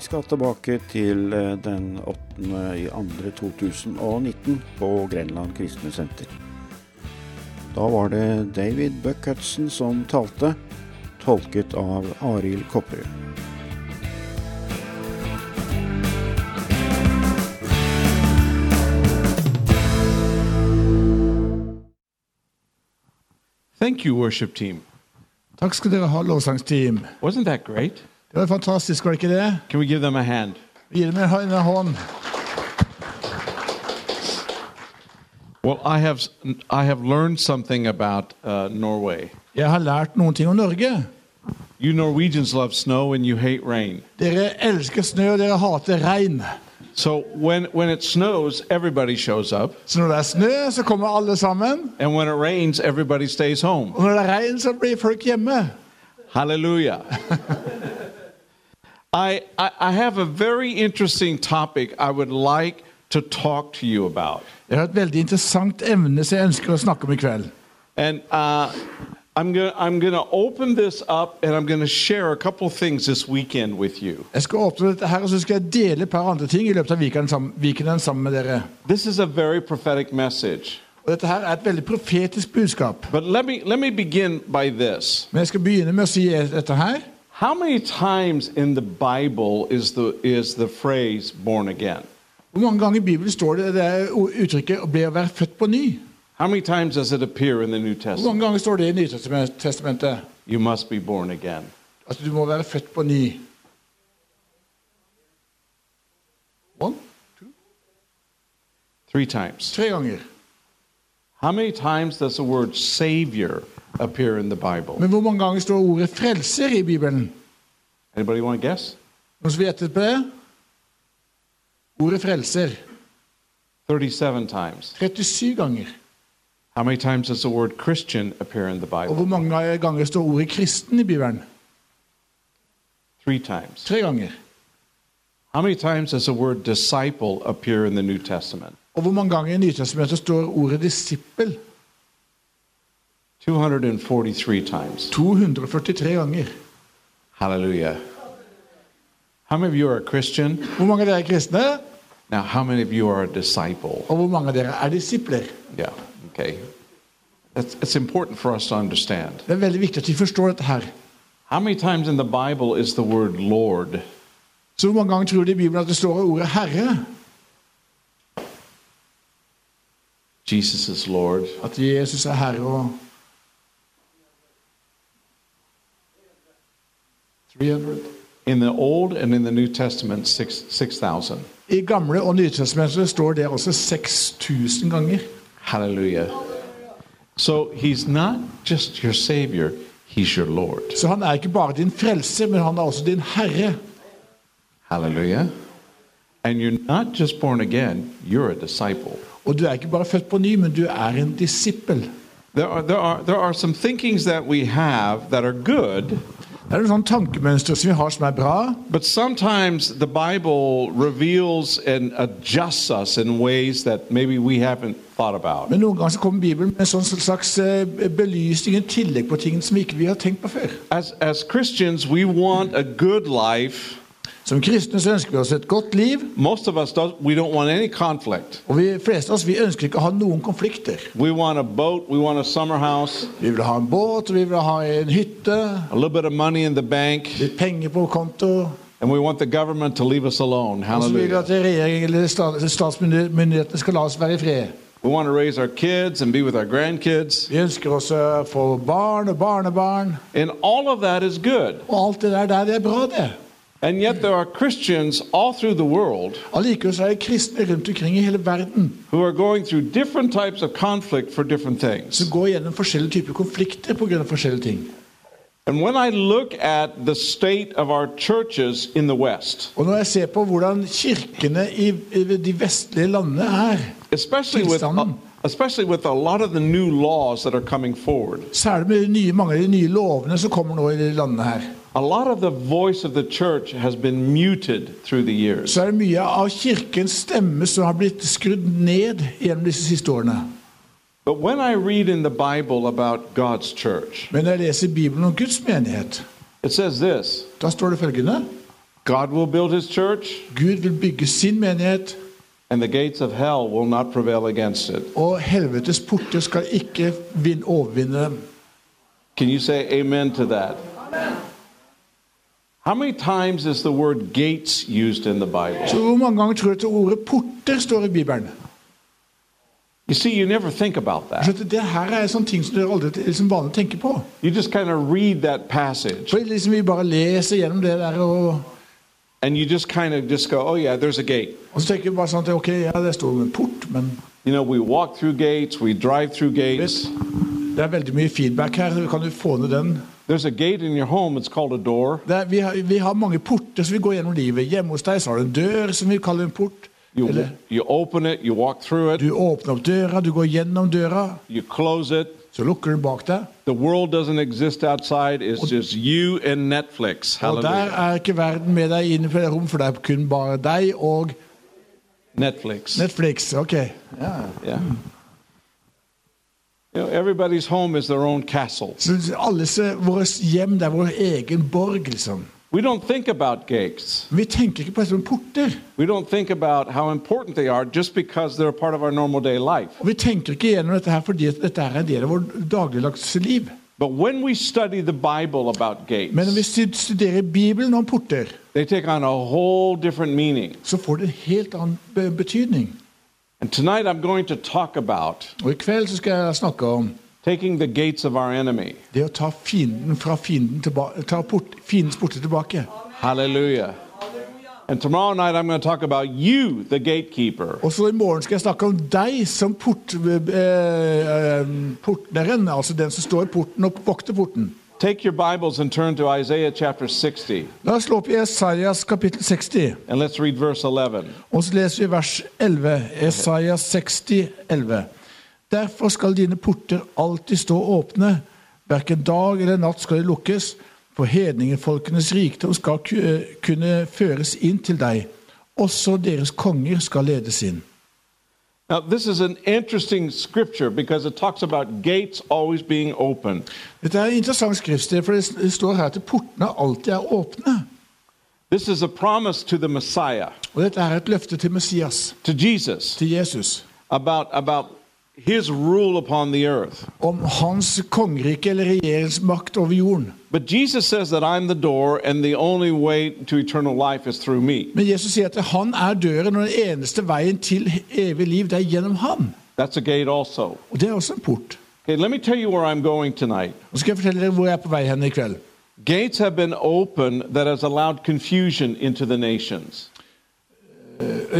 skal tilbake til eh, den 8. i andre 2019 på Grenland kristne senter. Da var det David Buck Hudson som talte, tolket av Arild Kopperud. Thank you, worship team. Takk skal dere ha, lovsangsteam. Wasn't that great? Det var fantastisk, var det ikke det? Can we give them a hand? Vi gir dem en hå- en hånd. Well, I have I have learned something about uh, Norway. Jeg har lært noen ting om Norge. You Norwegians love snow and you hate rain. Dere elsker snø, og dere hater regn. So when when it snows, everybody shows up, Så når det er snø, så kommer alle sammen. and when it rains, everybody stays home. Og når det er regn, så blir folk hjemme. Hallelujah. I, I I have a very interesting topic I would like to talk to you about, Jeg har et veldig interessant emne som jeg ønsker å snakke om i kveld. and. Uh, I'm going to I'm going to open this up and I'm going to share a couple things this weekend with you. Jeg skal åpne dette her, og så skal jeg dele et par andre ting i løpet av weekenden sammen, weekenden sammen med dere. This is a very prophetic message. Og dette her er et veldig profetisk budskap. But let me let me begin by this. Men jeg skal begynne med å si dette her. How many times in the Bible is the is the phrase born again? Hvor mange ganger i Bibelen står det det er o- uttrykket å bli å være født på ny? How many times does it appear in the New Hvor Testament? mange ganger står det i Nytestamentet You must be born again. at du må være født på ny? One, two, 3 times. tre ganger. How many times does the word savior appear in the Bible? Men hvor mange ganger står ordet frelser i Bibelen? Anybody want to guess? Noen som gjettet på det? Ordet frelser 37 times. 37 ganger. How many times does the word Christian appear in the Og Bible? hvor mange ganger står ordet kristen i Bibelen? 3 times. Tre ganger. How many times does the word disciple appear in the New Testament? Og hvor mange ganger i Nytestamentet står ordet disippel? 243 times. 243 ganger. Hallelujah. How many of you are a Christian? Hvor mange av dere er kristne? Now, how many of you are a disciple? Og hvor mange av dere er disipler? Yeah, okay. That's, it's important for us to understand. Det er veldig viktig at vi forstår dette her. How many times in the Bible is the word Lord? Så hvor mange ganger tror du i Bibelen at det står ordet Herre? Jesus is Lord. At Jesus er Herre og 300. In the Old and in the New Testament, six 6,000. I Gamle og Nytestamentet står det også 6000 ganger. Hallelujah. So he's not just your Savior, he's your Lord. Så han er ikke bare din frelser, men han er også din herre. Hallelujah. And you're not just born again, you're a disciple. Og du er ikke bare født på ny, men du er en disippel. There are, there, are, there are some thinkings that we have that are good, Det er noen sånne tankemønstre som vi har som er bra, but sometimes the Bible reveals and adjusts us in ways that maybe we haven't thought about. men noen ganger så kommer Bibelen med en sånn slags eh, belysning, en tillegg på ting som ikke vi har tenkt på før. As, as Christians, we want a good life. Som kristne så ønsker vi oss et godt liv, Most of us, don't, we don't want any conflict. og vi fleste av oss vi ønsker ikke å ha noen konflikter. We want a boat, we want a summer house, Vi vil ha en båt, vi vil ha en hytte, a little bit of money in the bank, litt penger på konto. and we want the government to leave us alone. Og så vil vi Hallelujah. at regjeringen eller sta- statsmyndighetene skal la oss være i fred. We want to raise our kids and be with our grandkids, Vi ønsker oss å få barn og barnebarn. and all of that is good. Og alt det der, der det er bra, det. And yet, there are Christians all through the world Allikevel så er det kristne rundt omkring i hele verden who are going through different types of conflict for different som things. går gjennom forskjellige typer konflikter pga. forskjellige ting. And when I look at the state of our churches in the West, Og når jeg ser på hvordan kirkene i, i de vestlige landene er, especially with, Tilstanden. especially with a lot of the new laws that are coming forward, særlig med de nye, mange av de nye lovene som kommer nå i de landene her, a lot of the voice of the church has been muted through the years. så er det mye av kirkens stemme som har blitt skrudd ned gjennom disse siste årene. But when I read in the Bible about God's church, Men når jeg leser Bibelen om Guds menighet, it says this da står det følgende God will build his church, Gud vil bygge sin menighet, and the gates of hell will not prevail against it. og helvetes porter skal ikke vin- overvinne dem. Can you say amen to that? How many times is the word gates used in the Bible? Så hvor mange ganger tror du at ordet 'porter' står i Bibelen? You see, you never think about Så that. at Altså, det her er sånne ting som dere aldri liksom vanlig tenker på. You just kind of read that passage For liksom Vi bare leser gjennom det der, og, and you just kind of just go, oh, yeah, there's a gate. og så tenker vi bare sånn at ok, ja, det står om en port, men You know, we walk through gates, we drive through gates. det er veldig mye feedback her. så Kan du få ned den? There's a gate in your home, it's called a door. Det er, vi, har, vi har mange porter som vi går gjennom livet. Hjemme hos deg så har du en dør som vi kaller en port. Eller, You, you open it, you walk through it, du åpner opp døra, du går gjennom døra, you close it. så lukker du bak deg. The world doesn't exist outside, it's just you and Netflix. Og der Hallelujah. er ikke verden med deg inne på det rom, for det er kun bare deg og Netflix. Netflix. Ok. Ja. Yeah. You know, everybody's home is their own castle. Så alle se, våre hjem, det er vår egen borg, liksom. We don't think about gates. Men vi tenker ikke på det som porter. We don't think about how important they are just because they're a part of our normal day life. Og vi tenker ikke gjennom dette her fordi at dette er en del av vår dagligdagse liv. But when we study the Bible about gates, Men når vi stud- studerer Bibelen om porter, they take on a whole different meaning. så får det en helt annen be- betydning. And tonight I'm going to talk about Og i kveld så skal jeg snakke om taking the gates of our enemy. det å ta fienden fra fienden tilbake, ta port, fiendens porter tilbake. Hallelujah. And tomorrow night I'm going to talk about you, the gatekeeper. Og så i morgen skal jeg snakke om deg som port, eh, eh, portneren, altså den som står i porten og vokter porten. Take your Bibles and turn to Isaiah chapter 60, La oss slå opp i Esaias kapittel 60, and let's read verse 11. og så leser vi vers 11. Esaias 60, 11. Derfor skal dine porter alltid stå åpne, hverken dag eller natt skal de lukkes, for hedningefolkenes rikdom skal ku- eh, kunne føres inn til deg. Også deres konger skal ledes inn. Now, this is an interesting scripture because it talks about gates always being open. Dette er et interessant skriftsted, for det står her at portene alltid er åpne. This is a promise to the Messiah, Og dette er et løfte til Messias, to Jesus, til Jesus, about, about his rule upon the earth. om hans kongerike eller regjeringsmakt over jorden. But Jesus says that I'm the door, and the only way to eternal life is through me. Men Jesus sier at han er døren, og den eneste veien til evig liv, det er gjennom ham. That's a gate also. Og det er også en port. Okay, let me tell you where I'm going tonight. Nå skal jeg fortelle dere hvor jeg er på vei hen i kveld. Gates have been open that has allowed confusion into the nations.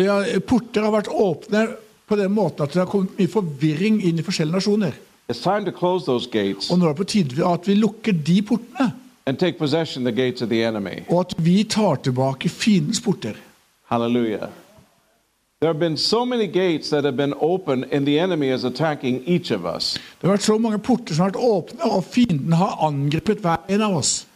Ja, porter har vært åpne på den måten at det har kommet mye forvirring inn i forskjellige nasjoner. It's time to close those gates Og nå er det på tide at vi lukker de portene, and take possession of the gates of the enemy. og at vi tar tilbake fiendens porter. Hallelujah. There have been so many gates that have been open, and the enemy is attacking each of us, Det har vært så mange porter som har vært åpne, og fienden har angrepet hver en av oss.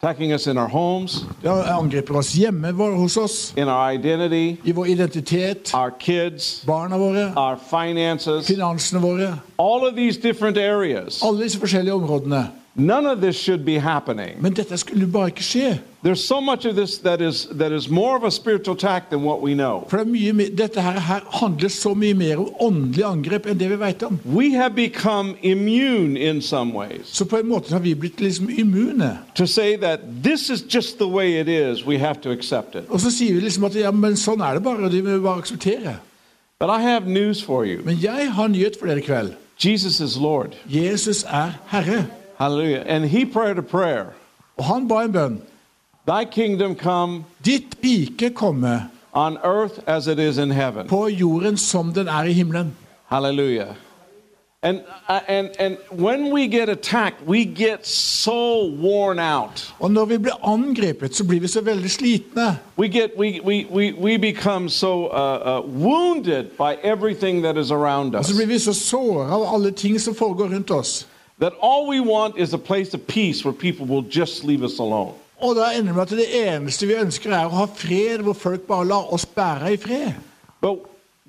attacking us in our homes, De angriper oss hjemme vår, hos oss, in our identity, i vår identitet, our kids, barna våre, our finances, finansene våre. all of these different areas. Alle disse forskjellige områdene. None of this should be happening. Men dette skulle bare ikke skje. There's so much of this that is, that is more of a spiritual attack than what we know. For det er mye, mer- dette her, her handler så mye mer om åndelige angrep enn det vi veit om. We have become immune in some ways. Så på en måte har vi blitt liksom immune. To say that this is just the way it is, we have to accept it. Og så sier vi liksom at ja, men sånn er det bare, og det må vi bare akseptere. But I have news for you Men jeg har nyhet for dere i kveld. Jesus is Lord. Jesus er Herre. Hallelujah. And he prayed a prayer Og han ba en bønn. Thy kingdom come Ditt rike komme on earth as it is in heaven. på jorden som den er i himmelen. Hallelujah. And, uh, and, and when we get attacked, we get so worn out. Og når vi blir angrepet, så blir vi så veldig slitne. We, get, we, we, we, we become so uh, uh, wounded by everything that is around Og us så blir vi så såra av alle ting som foregår rundt oss. that all we want is a place of peace where people will just leave us alone. Og da ender det med at det eneste vi ønsker, er å ha fred, hvor folk bare lar oss bære i fred. But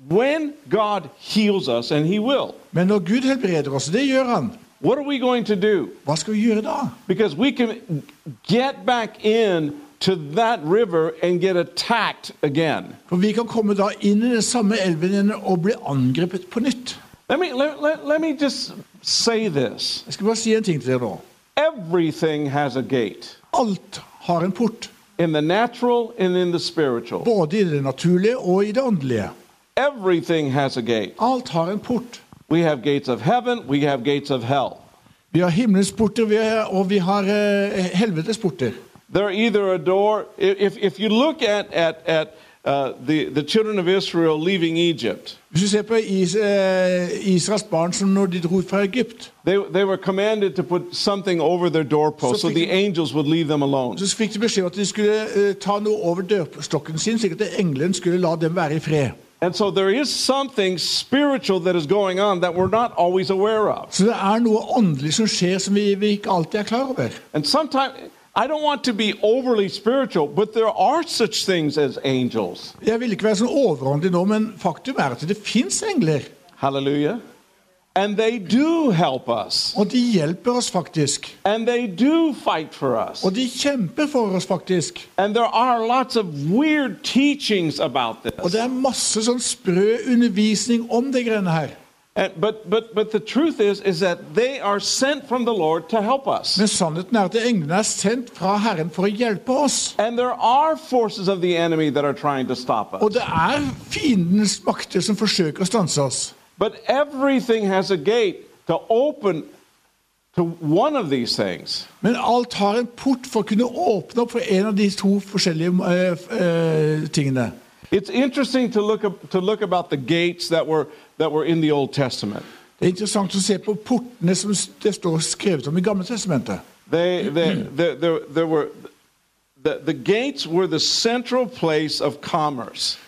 when God heals us, and He will, Men når Gud helbreder oss, det gjør han, what are we going to do? hva skal vi gjøre da? Because we can get back in to that river and get attacked again. For vi kan komme da inn i den samme elven igjen og bli angrepet på nytt. Let me, let, let, let me just say this Jeg skal bare si en ting til dere nå. everything has a gate Alt har en port. in the natural and in the spiritual. Både i det naturlige og i det åndelige. Everything has a gate. Alt har en port. We have gates of heaven, we have gates of hell. Vi har himmelens porter, vi har, og vi har eh, helvetes porter. They're either a door. i- If, if you look at, at, at uh, the, the children of Israel leaving Egypt, Hvis du ser på Is eh, Israels barn som når de dro fra Egypt, they, they were commanded to put something over their doorpost so, So the figure- angels would leave them alone. så fikk de beskjed om at de skulle eh, ta noe over dørstokken sin, slik at engelen skulle la dem være i fred. And so there is something spiritual that is going on that we're not always aware of. Så det er noe åndelig som skjer som vi, vi ikke alltid er klar over. And sometimes, I don't want to be overly spiritual, but there are such things as angels. Jeg vil ikke være sånn overåndelig nå, men faktum er at det fins engler. Hallelujah. And they do help us, Og de hjelper oss faktisk. and they do fight for us. Og de kjemper for oss faktisk. And there are lots of weird teachings about Og this. det er masse sånn sprø undervisning om de greiene her. And, but, but, but the truth is, is that they are sent from the Lord to help us. Men sannheten er at englene er sendt fra Herren for å hjelpe oss. And there are forces of the enemy that are trying to stop us. Og det er fiendens makter som forsøker å stanse oss. But everything has a gate to open to one of these things. Men alt har en port for å kunne åpne opp for en av de to forskjellige eh, f- eh, tingene. It's interesting to look, up, to look about the gates that were, that were in the Old Testament. Det er interessant å se på portene som s- det står skrevet om i Gamle testamentet. They, they, there- there- there were, the, the gates were the central place of commerce,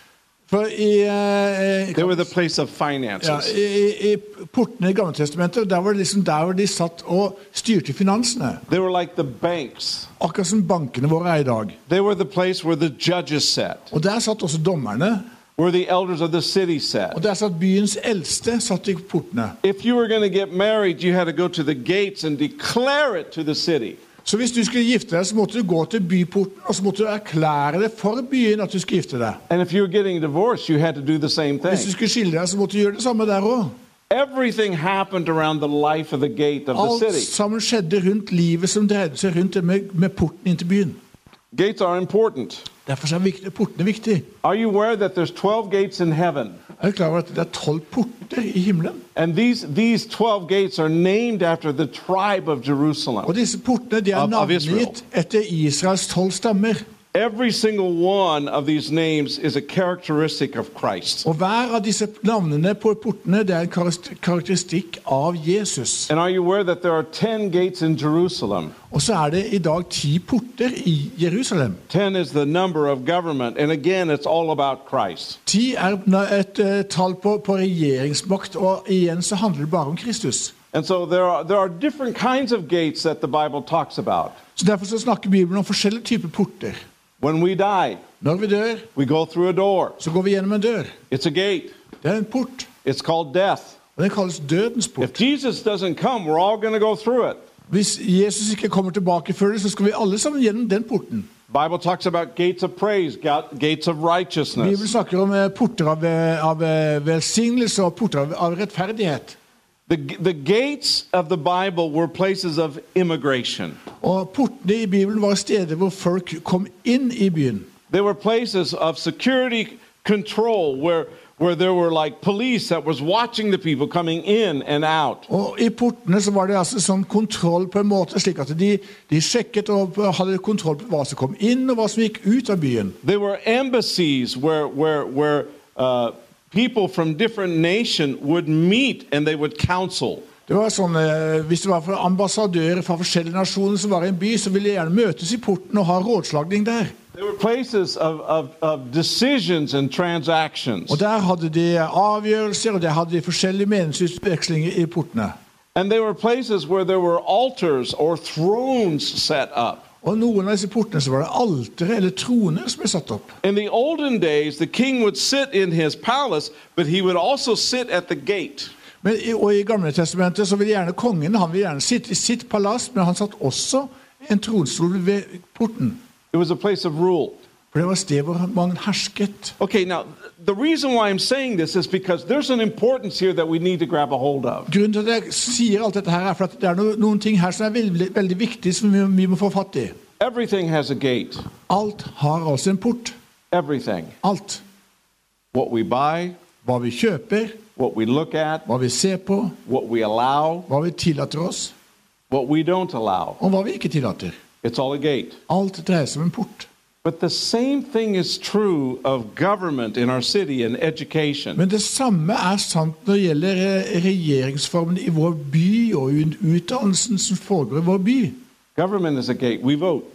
For i, eh, they were the place of ja, finances. i, i i portene i Gamle testamentet, der var det liksom der hvor de satt og styrte finansene. They were like the banks, Akkurat som bankene våre er i dag. they were the place where the judges sat, Og der satt også dommerne. where the elders of the city sat. Og der satt byens eldste satt i portene. If you were going to get married, you had to go to the gates and declare it to the city. Så hvis du skulle gifte deg, så måtte du gå til byporten og så måtte du erklære det for byen at du skulle gifte deg. And if you were getting divorced, you had to do the same Hvis du thing. skulle skille deg, så måtte du gjøre det samme der òg. Everything happened around the life of the gate of the Alt city. sammen skjedde rundt livet som dreide seg rundt det med, med porten inn til byen. Gates are important. Derfor så er viktig, portene viktig. Are you aware that there's 12 gates in heaven? Er du klar over at det er tolv porter i himmelen? And these, these 12 gates are named after the tribe of Og Jerusalem. disse portene de er Av- av Israel. navngitt etter Israels tolv stammer. Every single one of these names is a characteristic of Christ. Og hver av disse navnene på portene det er en karakter- karakteristikk av Jesus. And are you aware that there are 10 gates in Jerusalem? Og så er det i dag ti porter i Jerusalem. 10 is the number of government. And again, it's all about Christ. Ti er et eh, tall på, på regjeringsmakt, og igjen så handler det bare om Kristus. And so there are, there are different kinds of gates that the Bible talks about. Så Derfor så snakker Bibelen om forskjellige typer porter. When we die, Når vi dør, we go through a door. så går vi gjennom en dør. It's a gate. Det er en port. It's called death. og Den kalles dødens If port. Jesus doesn't come, we're all going to go through it. Hvis Jesus ikke kommer tilbake før det, så skal vi alle sammen gjennom den porten. Bible talks about gates of praise, ga- gates of Bibelen righteousness. snakker om eh, porter av, eh, av eh, velsignelse og porter av, av rettferdighet. The, the gates of the Bible were places of immigration. Og portene i Bibelen var steder hvor folk kom inn i byen. They were places of security control where, where there were like police that was watching the people coming in and out. Og I portene så var det altså sånn kontroll på en måte, slik at de, de sjekket og hadde kontroll på hva som kom inn, og hva som gikk ut av byen. There were embassies where, where, where uh, people from different nation would meet and they would counsel. Det var sånn, eh, Hvis det var fra ambassadører fra forskjellige nasjoner som var i en by, så ville de gjerne møtes i porten og ha rådslagning der. There were places of, of, of decisions and transactions. Og Der hadde de avgjørelser, og der hadde de forskjellige meningsutvekslinger i portene. And they were places where there were altars or thrones set up. Og Noen av disse portene så var det altere eller troner som ble satt opp. In the olden days, the king would sit in his palace, but he would also sit at the gate. Men, i- og I Gamle testamentet så ville gjerne kongen han ville gjerne sitte i sitt palass, men han satt også en tronstol ved porten. It was a place of rule. For det var et sted hvor man hersket. Okay, now, the reason why I'm saying this is because there's an importance here that we need to grab a hold of. Grunnen til at jeg sier alt dette her, er for at det er no- noen ting her som er veldig, veldig viktig, som vi, vi må få fatt i. Everything has a gate. Alt har altså en port. Everything. Alt. What we buy, Hva vi kjøper, what we look at, hva vi ser på, what we allow, hva vi tillater oss, what we don't allow. og hva vi ikke tillater. It's all a gate. Alt dreier seg om en port. But the same thing is true of government in our city and education. Men det samme er sant når det gjelder eh, regjeringsformen i vår by og un- utdannelsen som foregår i vår by. Government is a gate. We vote.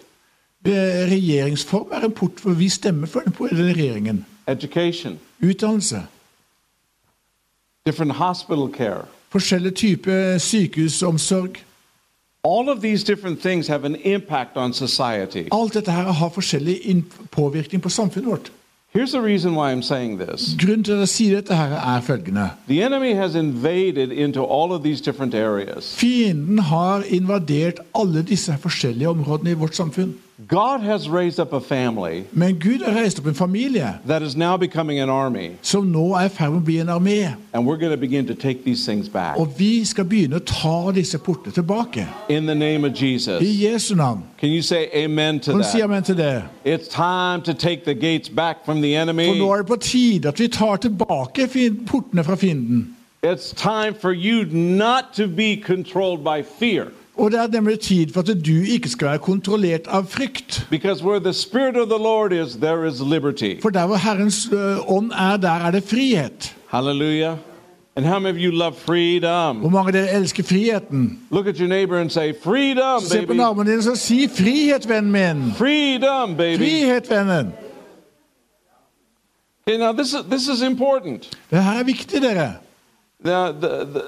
Eh, Regjeringsform er en port hvor vi stemmer for den på den regjeringen. Education, Utdannelse. different hospital care. Forskjellige typer eh, sykehusomsorg. All of these different things have an impact on society. Alt dette her har forskjellig inn- påvirkning på samfunnet vårt. Here's the reason why I'm saying this. Grunnen til at jeg sier dette her er følgende. The enemy has invaded into all of these different areas. Fienden har invadert alle disse forskjellige områdene i vårt samfunn. God has raised up a family Men Gud har reist opp en familie that is now becoming an army, som nå er i ferd med å bli en armé. and we're going to begin to take these things back Og vi skal begynne å ta disse portene tilbake. in the name of Jesus. I Jesu navn. Can you say amen to Kan du si that? amen til det? It's time to take the gates back from the For nå enemy. er det på tide at vi tar tilbake fin- portene fra fienden. It's time for you not to be controlled by fear. Og det er nemlig tid for at du ikke skal være kontrollert av frykt. Because where the Spirit of the Lord is, there is liberty. For der hvor Herrens ø, ånd er, der er det frihet. Hallelujah. And how many of you love freedom? Hvor mange av dere elsker friheten? Look at your neighbor and say, Freedom, Se på baby. naboen din og si 'frihet, vennen min'. Freedom, baby. Frihet, vennen. Okay, now this is this is important. Det her er viktig, dere. The, the, the,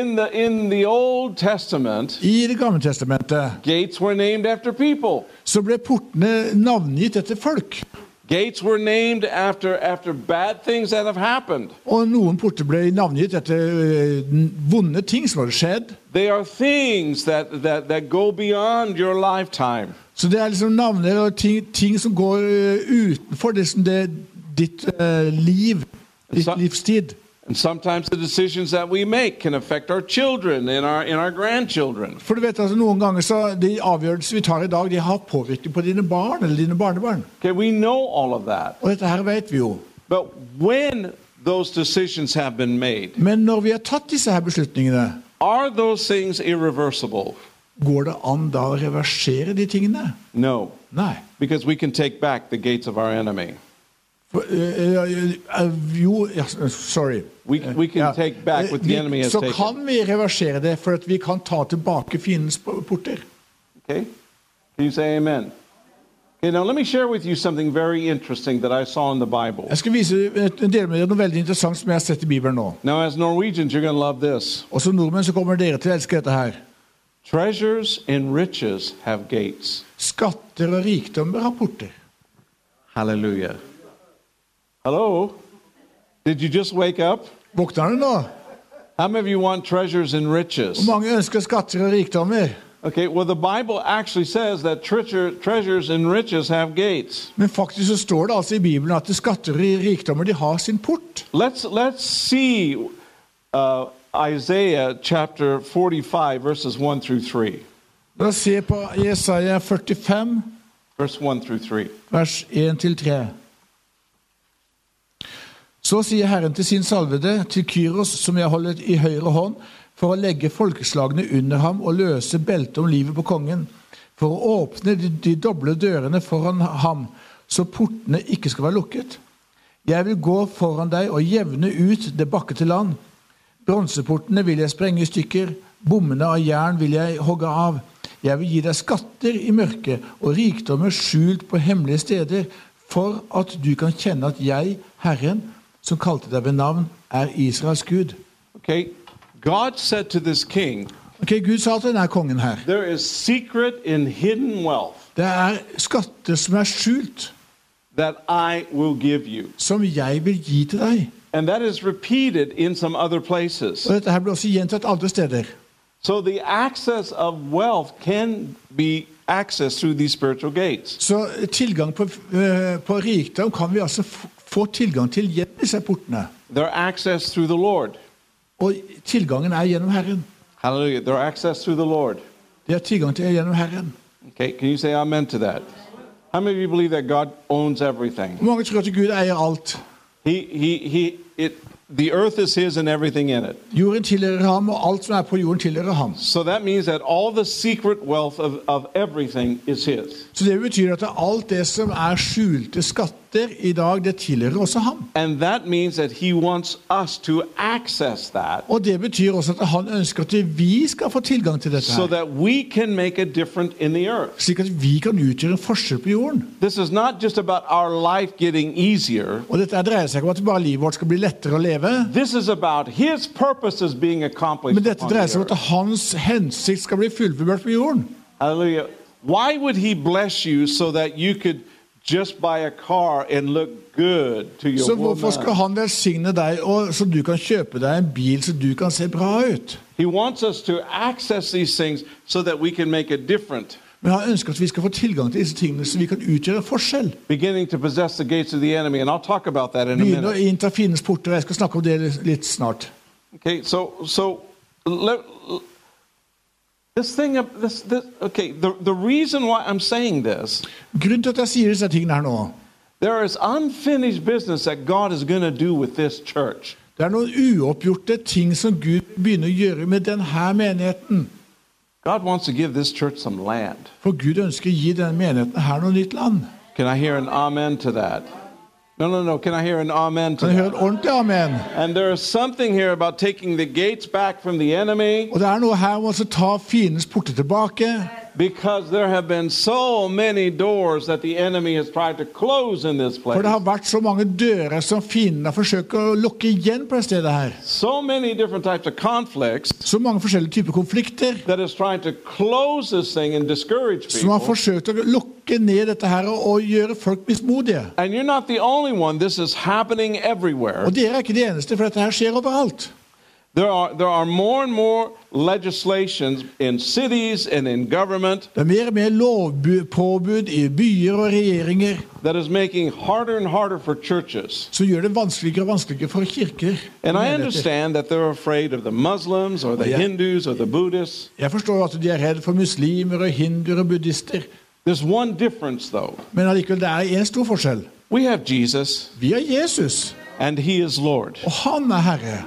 in the in the Old Testament, I Det gamle testamentet gates were named after people. så ble portene navngitt etter folk. Gates were named after after bad things that have happened. Og noen porter ble navngitt etter ø, vonde ting som hadde skjedd. They are things that, that, that go beyond your lifetime. Så det er liksom navner og ting, ting som går ø, utenfor det som det, ditt ø, liv, ditt Så- livstid. And sometimes the decisions that we make can affect our children and our and our grandchildren. For du vet altså Noen ganger så de avgjørelser vi tar i dag, de har påvirkning på dine barn eller dine barnebarn. Okay, we know all of that. Og dette her vet vi jo. But when those decisions have been made, Men når vi har tatt disse her beslutningene, are those things irreversible? går det an da å reversere de tingene? No, Nei. because we can take back the gates of our enemy. For, øh, øh, øh, jo ja, s- Sorry. We, we can Ja. Eh, take back what the Vi- enemy has så taken. kan vi reversere det, for at vi kan ta tilbake fiendens porter. Okay? Can you say amen? Okay, now let me share with you something very interesting that I saw in the Bible. Jeg skal vise et- en del med dere noe veldig interessant som jeg har sett i Bibelen nå. Now, as Norwegians, you're going to love this. Og som nordmenn så kommer dere til å elske dette her. Treasures and riches have gates. Skatter og rikdommer har porter. Hallelujah. Hello? Did you just wake up? Våkner du nå? How many of you want treasures and Hvor riches? mange ønsker skatter og rikdommer? Okay, well, the Bible actually says that treasure, treasures and riches have gates. Men faktisk så står det altså i Bibelen at skatter og rikdommer de har sin port. Let's, let's see uh, Isaiah chapter 45, verses 1 through 3. La oss se på Jesaja 45, Verse 1 through 3. vers 1-3. Så sier Herren til sin salvede, til Kyros, som jeg holder i høyre hånd, for å legge folkeslagene under ham og løse beltet om livet på kongen, for å åpne de, de doble dørene foran ham, så portene ikke skal være lukket. Jeg vil gå foran deg og jevne ut det bakkete land. Bronseportene vil jeg sprenge i stykker, bommene av jern vil jeg hogge av. Jeg vil gi deg skatter i mørket og rikdommer skjult på hemmelige steder, for at du kan kjenne at jeg, Herren, som kalte deg ved navn, er Israels Gud. Okay, God said to this king, Ok, Gud sa til denne kongen her, There is secret and hidden wealth det er skatter som er skjult, that I will give you. som jeg vil gi til deg. And that is repeated in some other places. Og dette her ble også gjentatt andre steder. So the access of wealth can be access through these spiritual gates. Så tilgang på, eh, på rikdom kan vi altså f- få tilgang til gjennom disse portene. They're accessed through the Lord. Og tilgangen er gjennom Herren. Hallelujah. They're accessed through the Lord. Det er tilgang til gjennom Herren. Okay, can you say amen to that? How many of you believe that God owns everything? Mange tror at Gud eier alt. He, he, he, it, the earth is His and everything in it. Jorden tilhører ham, og alt som er på jorden, tilhører ham. So that means that all the secret wealth of, of everything is His. Så det betyr at alt det som er skjulte skatter i dag, det tilhører også ham. And that means that He wants us to access that Og det betyr også at han ønsker at vi skal få tilgang til dette so her. that we can make a difference in the earth. Slik at vi kan utgjøre en forskjell på jorden. This is not just about our life getting easier. Og dette her dreier seg ikke om at bare livet vårt skal bli lettere å leve, This is about His purposes being accomplished. men dette upon dreier the seg om earth. at hans hensikt skal bli fullført på jorden. Hallelujah. Why would he bless you so that you could just buy a car and look good to your Så woman? hvorfor skal han velsigne deg, og så du kan kjøpe deg en bil så du kan se bra ut? He wants us to access these things so that we can make a difference, Men han ønsker at vi skal få tilgang til disse tingene, så vi kan utgjøre en forskjell. beginning to possess the gates of the enemy. And I'll talk about that in a Begynne å minute. innta fiendens porter. og Jeg skal snakke om det litt snart. Okay, so so let, this thing of this, this okay, the, the reason why I'm saying this, Grunnen til at jeg sier disse tingene her nå, there is unfinished business that God is gonna do with this church. det er noen uoppgjorte ting som Gud begynner å gjøre med denne menigheten. God wants to give this church some land. For Gud ønsker å gi denne menigheten her noe nytt land. Can I hear an amen to that? No, no, no. Can I hear an amen to Kan jeg høre that? et ordentlig amen? And there is something here about taking the gates back from the enemy Og det er noe her om å ta fiendens porter tilbake. because there have been so many doors that the enemy has tried to close in this For det har place. vært så mange dører som fiendene forsøker å lukke igjen på dette stedet her. So many different types of conflicts Så mange forskjellige typer konflikter that is trying to close this thing and discourage som har people. forsøkt å lukke ned dette her og gjøre folk mismodige. And you're not the only one. This is happening everywhere. Og dere er ikke de eneste, for dette her skjer overalt. There are, there are more and more legislations in cities and in government Det er mer og mer lovpåbud i byer og regjeringer that is making harder and harder for churches. som gjør det vanskeligere og vanskeligere for kirker. And I understand that they're afraid of the Muslims or the Yeah. Hindus or the Buddhists. Jeg forstår at de er redd for muslimer og hinduer og buddhister, There's one difference, though. men allikevel, det er en stor forskjell. We have Jesus, Vi har Jesus, and He is Lord. og han er Herre.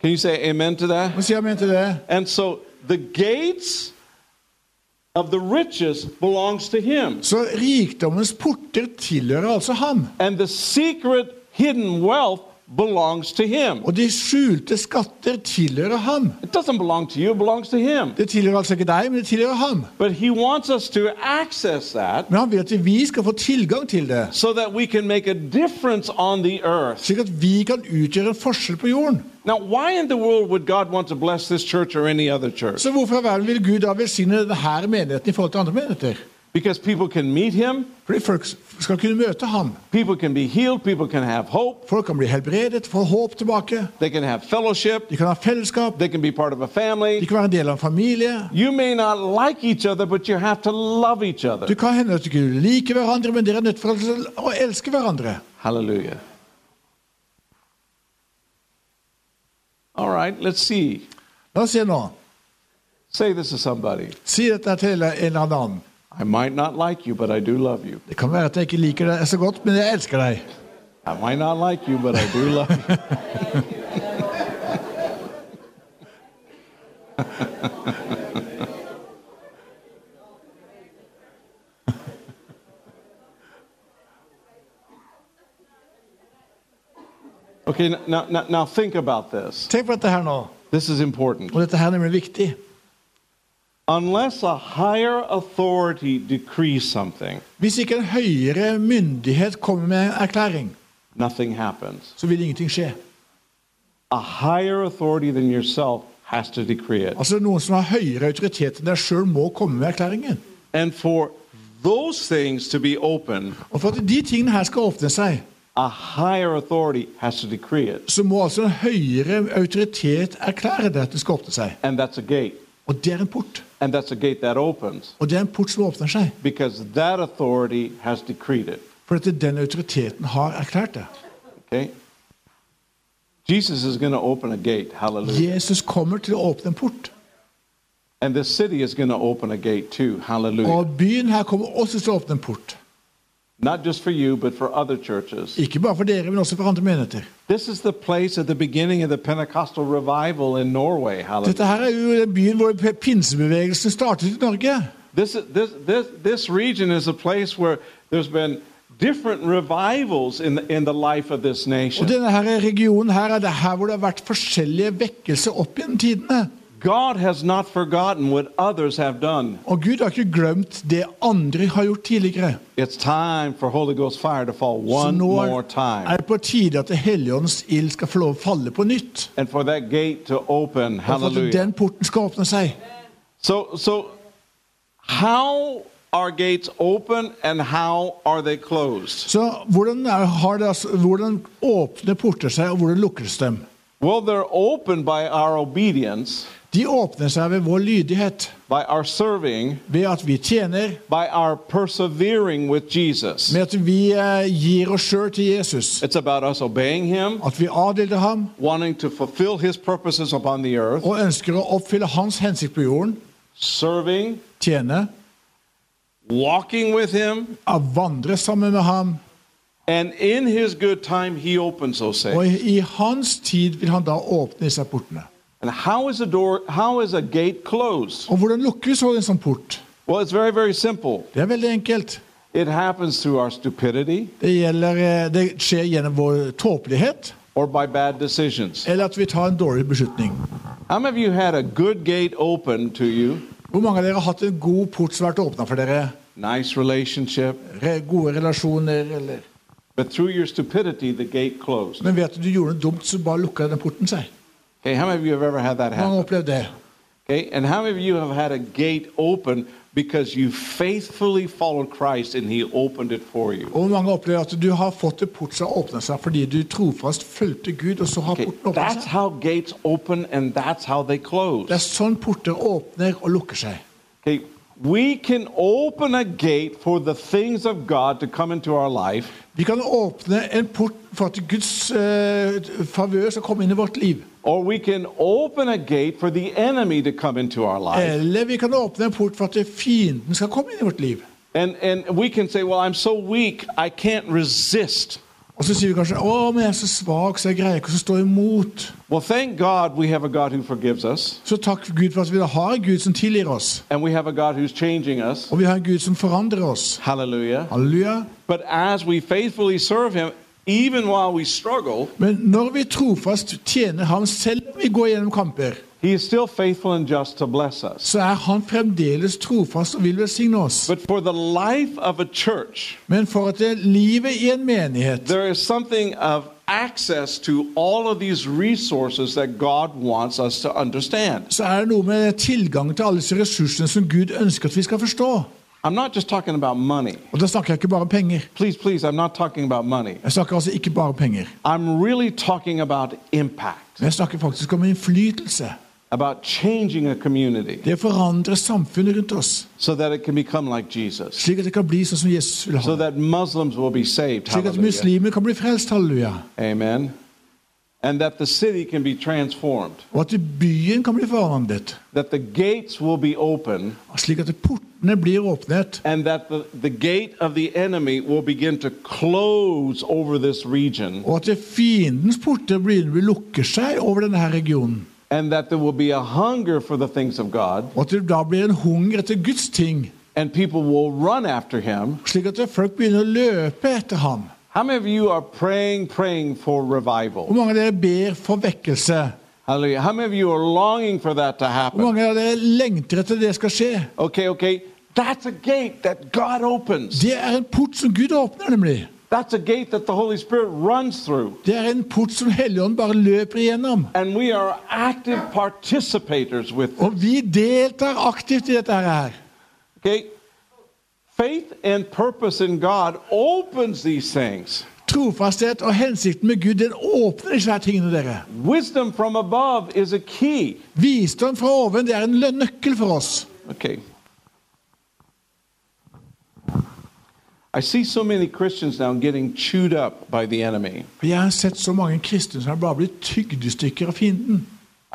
Can you say amen to that? Hva sier han til det? And so the gates of the riches belongs to Him, Så rikdommens porter tilhører altså ham. and the secret hidden wealth belongs to Him. Og de skjulte skatter tilhører ham. It doesn't belong to you; it belongs to Him. Det tilhører altså ikke deg, men det tilhører ham. But He wants us to access that Men han vil at vi skal få tilgang til det, so that we can make a difference on the earth. slik at vi kan utgjøre en forskjell på jorden. Now, why in the world would God want to bless this church or any other church? Så hvorfor i all verden vil Gud da velsigne denne menigheten i forhold til andre menigheter? Because people can meet Him, Fordi folk skal kunne møte ham. people can be healed, people can have hope, Folk kan bli helbredet, få håp tilbake. they can have fellowship, De kan ha fellesskap, they can be part of a de family. kan være en del av en familie. You may not like each other, but you have to love each Det other. kan hende at du ikke liker hverandre, men dere er nødt til å elske hverandre. Hallelujah. All right, let's see. La oss se nå. Say this to somebody. Si dette til en eller annen. I might not like you, but I do love you. Det kan være at jeg ikke liker deg så godt, men jeg elsker deg. I might not like you, but I do love you. okay, now, now, now think about this. Tenk på dette her nå, This is important. og dette her er nemlig viktig. Unless a higher authority decrees something, Hvis ikke en høyere myndighet kommer med en erklæring, nothing happens. så vil ingenting skje. A higher authority than yourself has to decree it. Altså Noen som har høyere autoritet enn deg sjøl, må komme med erklæringen. And for those things to be open, Og For at de tingene her skal åpne seg, a higher authority has to decree it. så må altså en høyere autoritet erklære det at det skal åpne seg. And that's a gate. Og det er en port. And that's a gate that opens Og det er en port som åpner seg. because that authority has decreed it. For at den autoriteten har erklært det. Okay? Jesus is going to open a gate. Hallelujah. Jesus kommer til å åpne en port. And this city is going to open a gate too. Hallelujah. Og byen her kommer også til å åpne en port. Not just for you, but for other churches. Ikke bare for dere, men også for andre menigheter. This is the place at the beginning of the Pentecostal revival in Norway. Dette Hallelujah. her er jo den byen hvor pinsebevegelsen startet i Norge. This, this, this, this region is a place where there's been different revivals in the, in the life of this Og nation. denne her regionen her er det her hvor det har vært forskjellige vekkelser opp gjennom tidene. God has not forgotten what others have done. Og Gud har ikke glemt det andre har gjort tidligere. It's time for Holy Ghost fire to fall Så one nå er- more er time det på tide at Helligåndens ild skal få lov å falle på nytt. and for that gate to open. Og for at Hallelujah. den porten skal åpne seg. So, so how are gates open and how are they closed? Så hvordan, er, har det, altså, hvordan åpner porter seg, og hvordan lukkes dem? Well, they're opened by our obedience, De åpner seg ved vår lydighet, by our serving, ved at vi tjener, by our persevering with Jesus. med at vi eh, gir oss sjøl til Jesus. It's about us obeying Him, At vi adlyder ham wanting to fulfill His purposes upon the earth, og ønsker å oppfylle hans hensikt på jorden. serving, Tjene, walking with Him, av vandre sammen med ham. and in His good time, He opens those Og things. i, i hans tid vil han da åpne disse portene. And how is a door? How is a gate closed? Og hvordan lukker vi så en sånn port? Well, it's very, very simple. Det er veldig enkelt. It happens through our stupidity Det, gjelder, eh, det skjer gjennom vår tåpelighet, or by bad decisions. eller at vi tar en dårlig beslutning. How many of you had a good gate open to you? Hvor mange av dere har hatt en god port som har vært åpna for dere? Nice relationship, Re, gode relasjoner, eller But through your stupidity, the gate closed. Men vet du, du gjorde noe dumt, så bare lukka den porten seg. Okay, how many of you have ever had that Mange har happen? opplevd det. Okay, and how many of you have had a gate open because you faithfully followed Christ and He opened it for you? Og hvor mange opplever at du har fått en port som har åpna seg fordi du trofast fulgte Gud, og så har Okay, porten åpna that's seg? how gates open and that's how they Det er close. sånn porter åpner og lukker seg. Okay, we can open a gate for the things of God to come into our life, Vi kan åpne en port for at Guds eh, favør skal komme inn i vårt liv. or we can open a gate for the enemy to come into our life. Eller vi kan åpne en port for at fienden skal komme inn i vårt liv. And, and we can say, Well, I'm so weak, I can't resist. Og så sier vi kanskje 'Å, men jeg er så svak, så jeg greier ikke å stå imot'. Well, thank God we have a God who forgives us, Så takk Gud for at vi da har en Gud som tilgir oss, and we have a God who's changing us. og vi har en Gud som forandrer oss. Hallelujah. Halleluja. But as we faithfully serve Him, even while we struggle, Men når vi trofast tjener Ham selv om vi går gjennom kamper, He is still faithful and just to bless us. så er Han fremdeles trofast og vil velsigne oss. But for the life of a church, Men for at det livet i en menighet there is something of access to all of these resources that God wants us to understand. så er det noe med tilgang til alle disse ressursene som Gud ønsker at vi skal forstå. I'm not just talking about money. Og da snakker jeg ikke bare om penger. Please, please, I'm not talking about money. Jeg snakker altså ikke bare om penger. I'm really talking about impact, Men jeg snakker faktisk om innflytelse. about changing a community. Det forandrer samfunnet rundt oss, so that it can become like Jesus, slik at det kan bli sånn som Jesus vil ha so det. that Muslims will be saved. Slik at Hallelujah. muslimer kan bli frelst, halleluja. Amen. And that the city can be transformed, Og at byen kan bli forandret. that the gates will be open, Slik at portene blir åpnet, and that the, the gate of the enemy will begin to close over this region, og at fiendens porter blir lukker seg over denne her regionen. and that there will be a hunger for the things of God, Og at det da blir en hunger etter Guds ting, and people will run after him. slik at folk begynner å løpe etter ham. How many of you are praying, praying for Hvor revival? mange av dere ber for vekkelse? Hallelujah. How many of you are longing for that to Hvor happen? mange av dere lengter etter det skal skje? Okay, okay. That's a gate that God opens. Det er en port som Gud åpner, nemlig. That's a gate that the Holy Spirit runs through. Det er en port som Helligånden bare løper igjennom. And we are active participators with Og vi deltar aktivt i dette her. okay? Faith and purpose in God opens these things. Trofasthet og hensikten med Gud, den åpner disse her tingene, dere. Wisdom from above is a key. Visdom fra oven, det er en lø- nøkkel for oss. Okay. I see so many Christians now getting chewed up by the enemy. For Jeg har sett så mange kristne som har bare blitt tygd i stykker av fienden.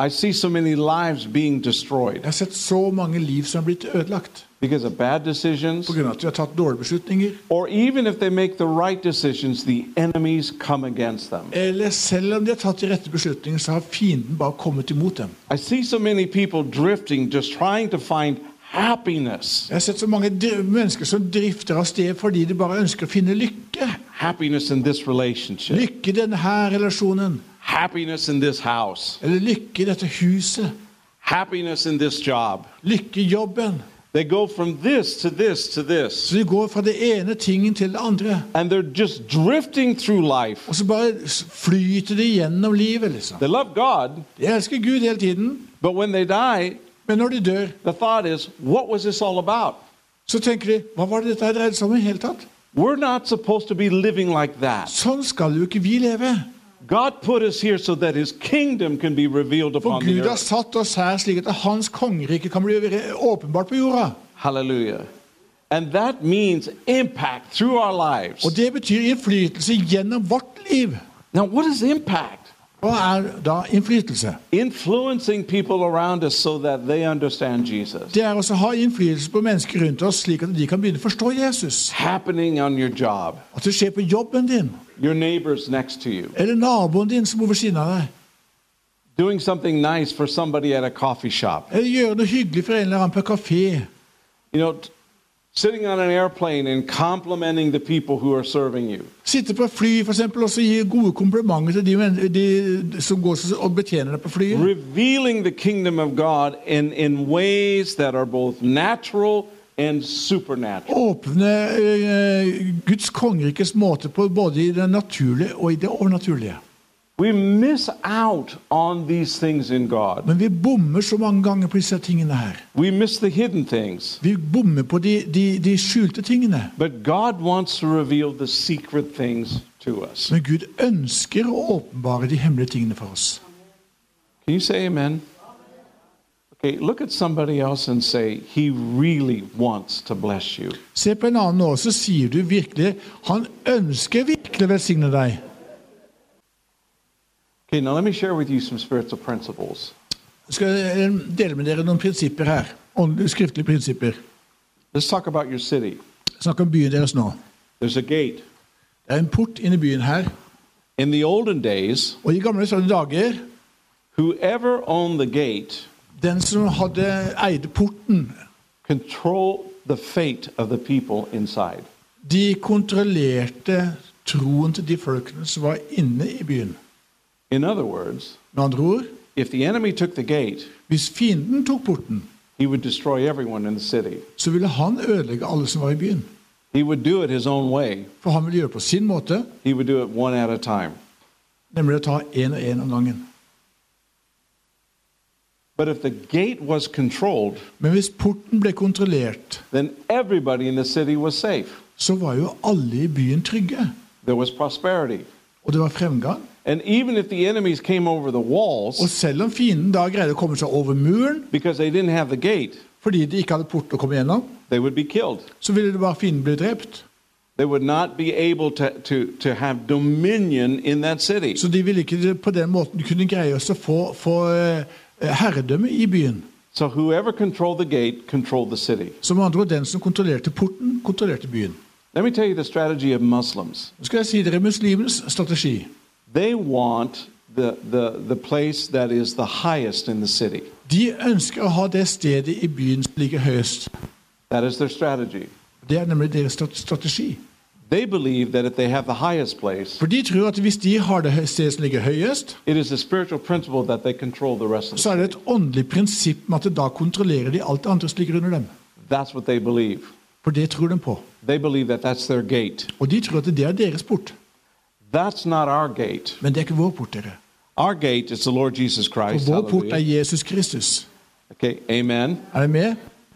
I see so many lives being destroyed Jeg har sett så mange liv som har blitt ødelagt because of bad decisions, pga. at de har tatt dårlige beslutninger. or even if they make the right decisions, the enemies come against them. Eller selv om de har tatt de rette beslutningene, så har fienden bare kommet imot dem. I see so many people drifting, just trying to find happiness. Jeg har sett så mange dri- mennesker som drifter av sted fordi de bare ønsker å finne lykke. Happiness in this relationship, Lykke i denne relasjonen, happiness in this house, eller lykke i dette huset, happiness in this job. lykke i jobben. They go from this to this to this, Så de går fra det ene tingen til det andre, and they're just drifting through life. og så bare s- flyter de gjennom livet, liksom. They love God, De elsker Gud hele tiden, but when they die, men når de dør, the thought is, what was this all about? så tenker de Hva var det dette her dreide seg om i det hele tatt? We're not supposed to be living like that. Sånn skal jo ikke vi leve. God put us here so that his kingdom can be revealed For upon the Gud har earth. satt oss her slik at Hans kongerike kan bli åpenbart på jorda. Hallelujah. And that means impact through our lives. Og det betyr innflytelse gjennom vårt liv. Now, what is impact? Hva er da innflytelse? Influencing people around us so that they understand Jesus. Det er også å ha innflytelse på mennesker rundt oss, slik at de kan begynne å forstå Jesus. Happening on your job, At det skjer på jobben din, your neighbors next to you, eller naboen din som bor ved siden av deg. doing something nice for somebody at a coffee shop, Eller gjøre noe hyggelig for en eller annen på kafé. you know, t- sitting on an airplane and complimenting the people who are serving you. Sitte på fly for eksempel, og så gi gode komplimenter til de, men- de som går og betjener deg på flyet. Revealing the kingdom of God in, in ways that are both natural and supernatural. Åpne eh, Guds kongerikes måte på både i det naturlige og i det overnaturlige. We miss out on these things in God. Men vi bommer så mange ganger på disse tingene her. We miss the hidden things. Vi bommer på de, de, de skjulte tingene. But God wants to reveal the secret things to us. Men Gud ønsker å åpenbare de hemmelige tingene for oss. Can you say amen? Okay, look at somebody else and say, He really wants to bless you. Se på en annen nå, så sier du virkelig Han ønsker virkelig å velsigne deg. Okay, now let me share with you some spiritual principles. Jeg skal eh, dele med dere noen prinsipper her. Åndelige, Skriftlige prinsipper. Let's talk about your city. Snakk om byen deres nå. There's a gate. Det er en port inne i byen her. In the olden days, Og i gamle sånne dager whoever owned the gate Den som hadde eide porten, controlled the fate of the people inside. de kontrollerte troen til de folkene som var inne i byen. In other words, Med andre ord, if the enemy took the gate, hvis fienden tok porten, he would destroy everyone in the city. så ville han ødelegge alle som var i byen. He would do it his own way. For han ville gjøre det på sin måte, He would do it one at a time. nemlig å ta én og én om gangen. But if the gate was controlled, Men hvis porten ble kontrollert, then everybody in the city was safe. så var jo alle i byen trygge. There was prosperity. Og det var fremgang. And even if the enemies came over the Og walls selv om fienden da greide å komme seg over muren because they didn't have the gate, fordi de ikke hadde port å komme gjennom, they would be killed. så ville det bare fienden bli drept. They would not be able to, to, to have dominion in that city. Så de ville ikke på den måten kunne greie oss å få, få eh, herredømme i byen. So whoever controlled the gate controlled the city. Så med andre ord, den som kontrollerte porten, kontrollerte byen. Let me tell you the strategy of Muslims. Nå skal jeg si dere muslimenes strategi. They want the, the, the place that is the highest in the city. De ønsker å ha det stedet i byen som ligger høyest. That is their strategy. Det er nemlig deres stra- strategi. They believe that if they have the highest place, For de tror at hvis de har det hø- stedet som ligger høyest, It is a spiritual principle that they control the rest of the så er det city. et åndelig prinsipp med at da kontrollerer de alt det andre som ligger under dem. That's what they believe. For det tror de på. They believe that that's their gate. Og de tror at det er deres port. That's not our gate. Men det er ikke vår port, dere. Our gate is the Lord Jesus Og Christ. vår port er Hallelujah. Jesus Kristus. Okay, amen. Er dere med?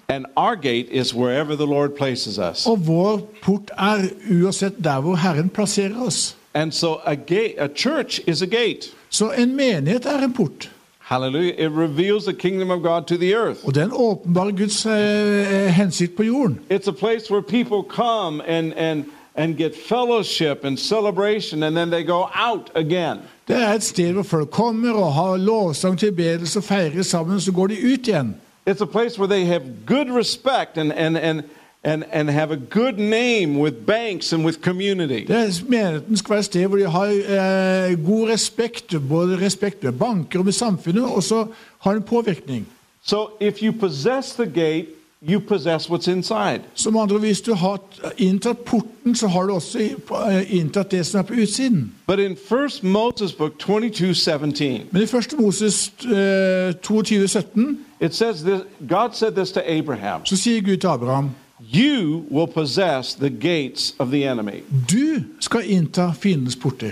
And our gate is Oh. wherever the Lord places us. Og vår port er uansett der hvor Herren plasserer oss. And so a gate, a church is a gate. Så en menighet er en port. Hallelujah. It reveals the kingdom of God to the earth. Og den åpenbarer Guds eh, hensikt på jorden. It's a place where people come and, and, and get fellowship and celebration, and then they go out again. Det er et sted hvor folk kommer og har lovsang, tilbedelse og feirer sammen, så går de ut igjen. It's a place where they have good respect and, and, and, and, and have a good name with banks and with community. Det er Menigheten skal være et sted hvor de har eh, god respekt, både respekt med banker og med samfunnet, og så har en påvirkning. So if you possess the gate, you possess what's inside. Som andre, hvis du har inntatt porten, så har du også eh, inntatt det som er på utsiden. But in First Moses book 22 17, Men i 1. Moses eh, 22, 17, it says this God said this to Abraham så sier Gud til Abraham You will possess the gates of the enemy, Du skal innta fiendens porter.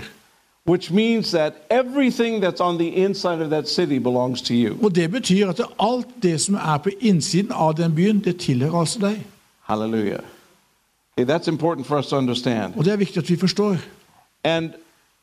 which means that everything that's on the inside of that city belongs to you. Og det betyr at alt det som er på innsiden av den byen, det tilhører altså deg. Hallelujah. Okay, that's important for us to understand. Og det er viktig at vi forstår. And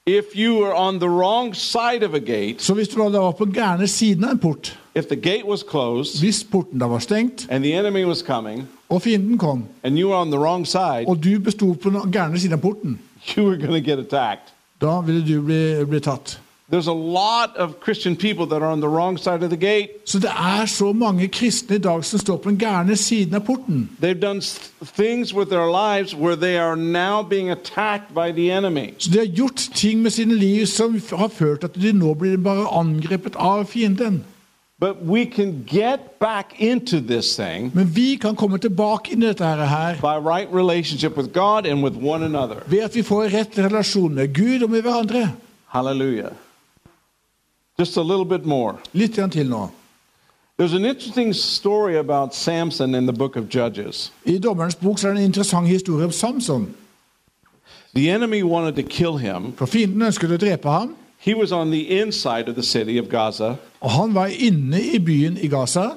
if you are on the wrong side of a gate, Så hvis du da var på den gærne siden av en port, if the gate was closed hvis porten da var stengt, and the enemy was coming, og fienden kom, and you were on the wrong side, og du besto på den gærne siden av porten, you were going to get attacked. da ville du bli, bli tatt. There's a lot of Christian people that are on the wrong side of the gate. Så det er så mange kristne i dag som står på den gærne siden av porten. They've done s- things with their lives where they are now being attacked by the enemy. Så de har gjort ting med sine liv som f- har ført til at de nå blir bare angrepet av fienden. But we can get back into this thing Men vi kan komme tilbake inn i dette her- her by right relationship with God and with one another. ved at vi får rett relasjon med Gud og med hverandre. Hallelujah. Just a little bit more. Litt grann til nå. There's an interesting story about Samson in the book of Judges. I dommerens bok så er det en interessant historie om Samson. The enemy wanted to kill him. For fienden ønsket å drepe ham, He was on the inside of the city of Gaza, og han var inne i byen i Gaza.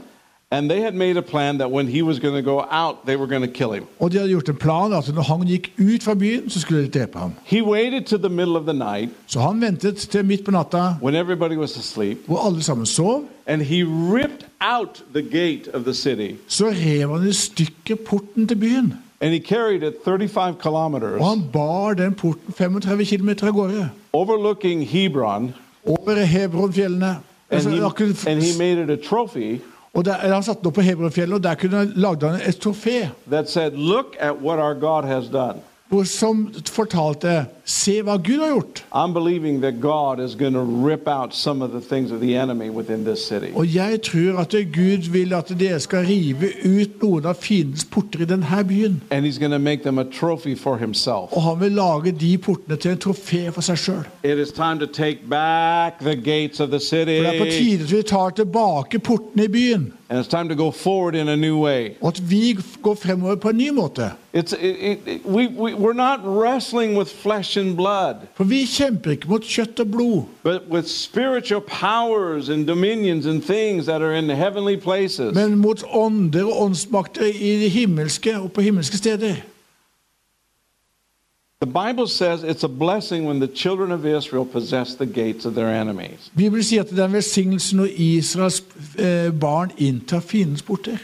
and they had made a plan that when he was going to go out, they were going to kill him. Og de hadde gjort en plan at når han gikk ut fra byen, så skulle de drepe ham. He waited to the middle of the night Så han ventet til midt på natta, when everybody was asleep, hvor alle sammen sov. and he ripped out the gate of the city, Så rev han i stykker porten til byen. and he carried it 35 kilometers, Og han bar den porten 35 km av gårde. overlooking Hebron, Over Hebronfjellene. and Altså, he, akkurat- and he made it a trophy og der, eller han satte den opp på Hebronfjellene, og der kunne han lagde han et trofé. that said, "Look at what our God has done." hvor som fortalte Se hva Gud har gjort. I'm believing that God is going to rip out some of the things of the enemy within this city. Og jeg tror at Gud vil at dere skal rive ut noen av fiendens porter i denne byen. And he's going to make them a trophy for himself. Og han vil lage de portene til en trofé for seg sjøl. It is time to take back the gates of the city. For det er på And tide at vi tar tilbake portene i byen. it's time to go forward in a new way. Og at vi går fremover på en ny måte. It's, it, it, it- we, we, we're not wrestling with flesh and blood, For vi kjemper ikke mot kjøtt og blod, but with spiritual powers and dominions and things that are in the heavenly places. men mot ånder og åndsmakter i det himmelske og på himmelske steder. The Bible says it's a blessing when the children of Israel possess the gates of their enemies. Bibelen sier at det er en velsignelse når Israels eh, barn inntar fiendens porter.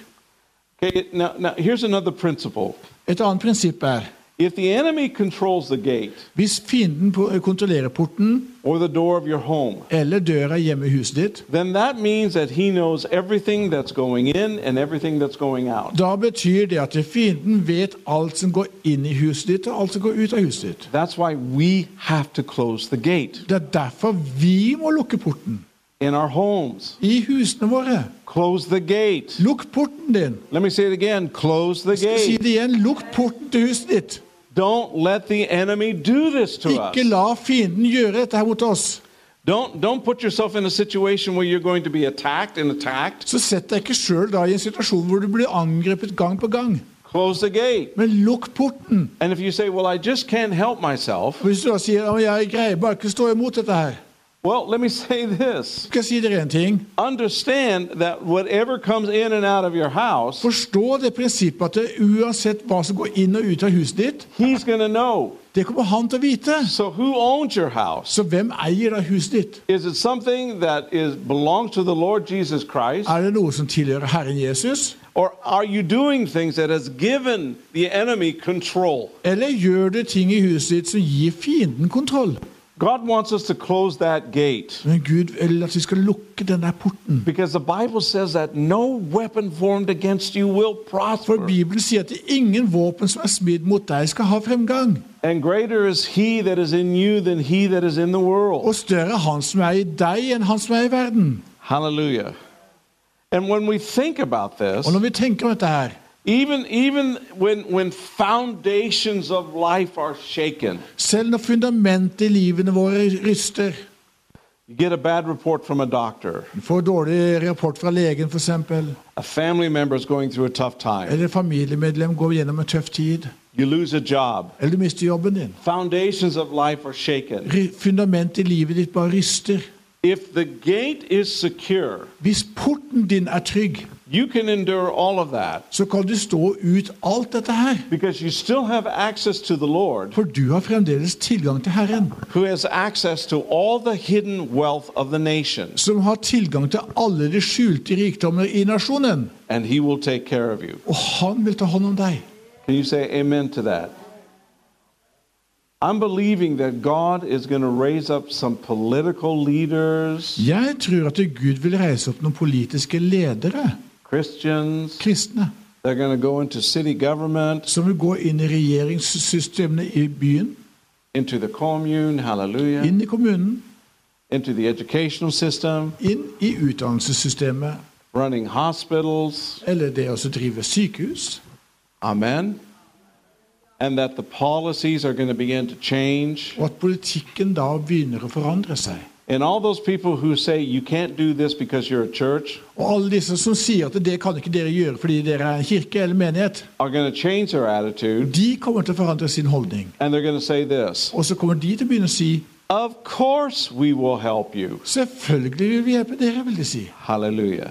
Okay, now, now here's another principle. Et annet prinsipp er If the enemy controls the gate hvis fienden på- kontrollerer porten or the door of your home, eller døra hjemme i huset ditt, then that means that he knows everything that's going in and everything that's going out. da betyr det at fienden vet alt som går inn i huset ditt, og alt som går ut av huset ditt. That's why we have to close the gate Det er derfor vi må lukke porten. in our homes. I husene våre. Close the gate. Lukk porten din. Let me say it again close the Jeg sier gate. det igjen, lukk porten til huset ditt. Don't let the enemy do this to us. Ikke la fienden gjøre dette her mot oss. Don't, don't put yourself in a situation where you're going to be attacked and attacked. Så sett deg ikke sjøl da i en situasjon hvor du blir angrepet gang på gang. Close the gate. Men lukk porten. And if you say, Well, I just can't help myself, Hvis du da sier at jeg greier bare ikke å stå imot dette her, Well, let me say this Skal jeg si dere en ting? understand that whatever comes in and out of your house, Forstå det prinsippet at det, uansett hva som går inn og ut av huset ditt, he's going to know. det kommer han til å vite. So, who owns your house? Så hvem eier da huset ditt? Is it something that is belongs to the Lord Jesus Christ, Er det noe som tilhører Herren Jesus? or are you doing things that has given the enemy control? Eller gjør du ting i huset ditt som gir fienden kontroll? God wants us to close that gate Men Gud vil at vi skal lukke den der porten. because the Bible says that no weapon formed against you will For prosper, Bibelen sier at ingen våpen som er smidd mot deg, skal ha fremgang. and greater is He that is in you than He that is in the world. Og større er han som er i deg, enn han som er i verden. Hallelujah. And when we think about this, Og når vi tenker om dette her, Even even when when foundations of life are shaken, selv når fundamentet i livene våre ryster you get a bad report from a doctor. Du får dårlig rapport fra legen, f.eks. A family member is going through a tough time. Eller et familiemedlem går gjennom en tøff tid. You lose a job. Eller du mister jobben din. Foundations of life are shaken. Ry- Fundamentet i livet ditt bare ryster. If the gate is secure, Hvis porten din er trygg, you can endure all of that så kan du stå ut alt dette her. because you still have access to the Lord For du har fremdeles tilgang til Herren, who has access to all the hidden wealth of the nations som har tilgang til alle de skjulte rikdommer i nasjonen. and he will take care of you. Og han vil ta hånd om deg. Can you say amen to that? I'm believing that God is going to raise up some political leaders, Jeg tror at Gud vil reise opp noen politiske ledere, Christians. kristne, They're going to go into city government, som vil gå inn i regjeringssystemene i byen, into the commune, hallelujah, inn i kommunen, into the educational system, inn i utdannelsessystemet, running hospitals, eller det å så drive sykehus. amen. And that the policies are going to begin to change. Og at politikken da begynner å forandre seg. And all those people who say you can't do this because you're a church Og alle disse som sier at det kan ikke dere gjøre fordi dere er en kirke eller menighet, are going to change their attitude de kommer til å forandre sin holdning. and they're going to say this. Og så kommer de til å begynne å si Of course, we will help you. selvfølgelig vil vi hjelpe dere, vil de si. Hallelujah.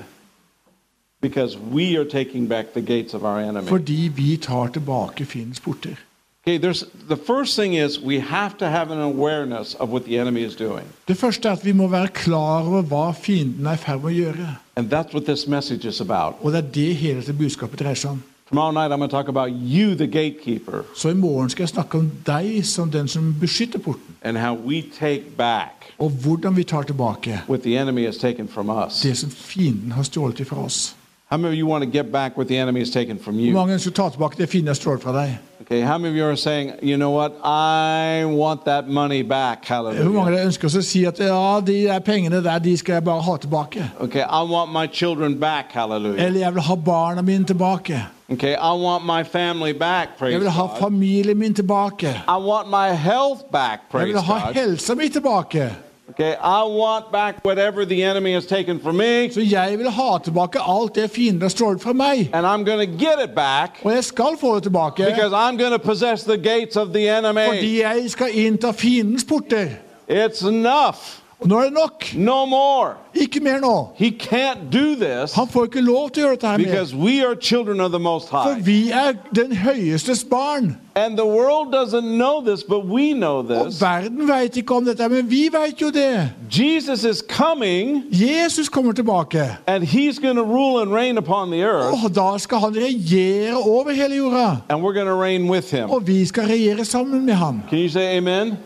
Because we are taking back the gates of our enemy. Fordi vi tar tilbake fiendens porter. Okay, there's the first thing is we have to have an awareness of what the enemy is doing. Det første er at vi må være klar over hva fienden er i ferd med å gjøre. And that's what this message is about. Og det er det hele dette budskapet dreier seg om. Tomorrow night I'm going to talk about you the gatekeeper Så i morgen skal jeg snakke om deg som den som beskytter porten. and how we take back Og hvordan vi tar tilbake what the enemy has taken from us. det som fienden har stjålet fra oss. How many of you want to get back what the enemy has taken from Hvor you? mange skal ta tilbake det fienden har stjålet fra deg? Okay, how many of you are saying, "You know what? I want that money back." Hvor mange Hallelujah. av dere ønsker å si at ja, de der pengene der, de skal jeg bare ha tilbake? Okay, I want my children back. Hallelujah. Eller jeg vil ha barna mine tilbake. Okay, I want my family back, praise Jeg vil ha God. familien min tilbake. I want my health back, Jeg praise vil ha God. helsa mi tilbake. Okay, I want back whatever the enemy has taken from me, Så jeg vil ha tilbake alt det fienden har stjålet fra meg. and I'm going to get it back Og jeg skal få det tilbake. because I'm going to possess the gates of the Fordi enemy. jeg skal innta fiendens porter. It's enough. Og nå er det nok. No more. Ikke mer nå. He can't do this Han får ikke lov til å gjøre dette her mer. because we are children of the Most For High. vi er den høyestes barn. And the world doesn't know this, but we know Og this. verden veit ikke om dette, men vi veit jo det. Jesus is coming, Jesus kommer tilbake. and he's going to rule and reign upon the earth, Og da skal han regjere over hele jorda. and we're going to reign with him. Og vi skal regjere sammen med ham. Can you say amen?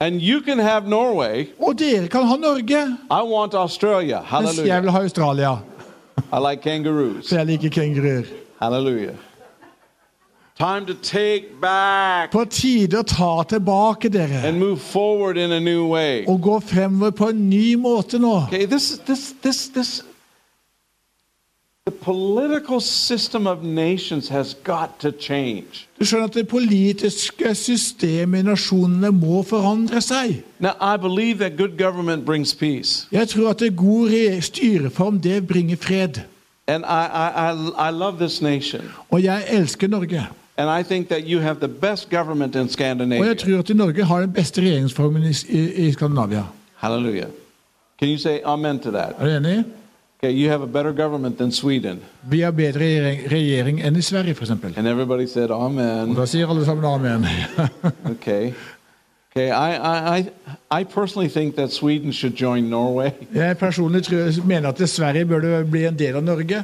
And you can have Norway. Og dere kan ha Norge. I want Australia. Mens jeg vil Hallelujah. ha Australia. I like kangaroos. For jeg liker kenguruer. Hallelujah. Time to take back På tide å ta tilbake dere. and move forward in a new way. Og gå fremover på en ny måte nå. Okay, this is this this this the political system of nations has got to change. Du skjønner at det politiske systemet i nasjonene må forandre seg. Now I believe that good government brings peace. Jeg tror at det god re- styreform, det bringer fred. And I, I, I, I love this nation. Og jeg elsker Norge. And I think that you have the best government in Og jeg Scandinavia. tror at Norge har den beste regjeringsformen i, i, i Skandinavia. Hallelujah. Can you say amen to that? Er du enig? Okay, you have a better government than Sweden. Vi har bedre regjering- regjering enn i Sverige, f.eks. And everybody said amen. Da sier alle sammen amen. Okay. Okay, I, I, I, I personally think that Sweden should join Norway. Jeg personlig tror, mener at Sverige bør det bli en del av Norge.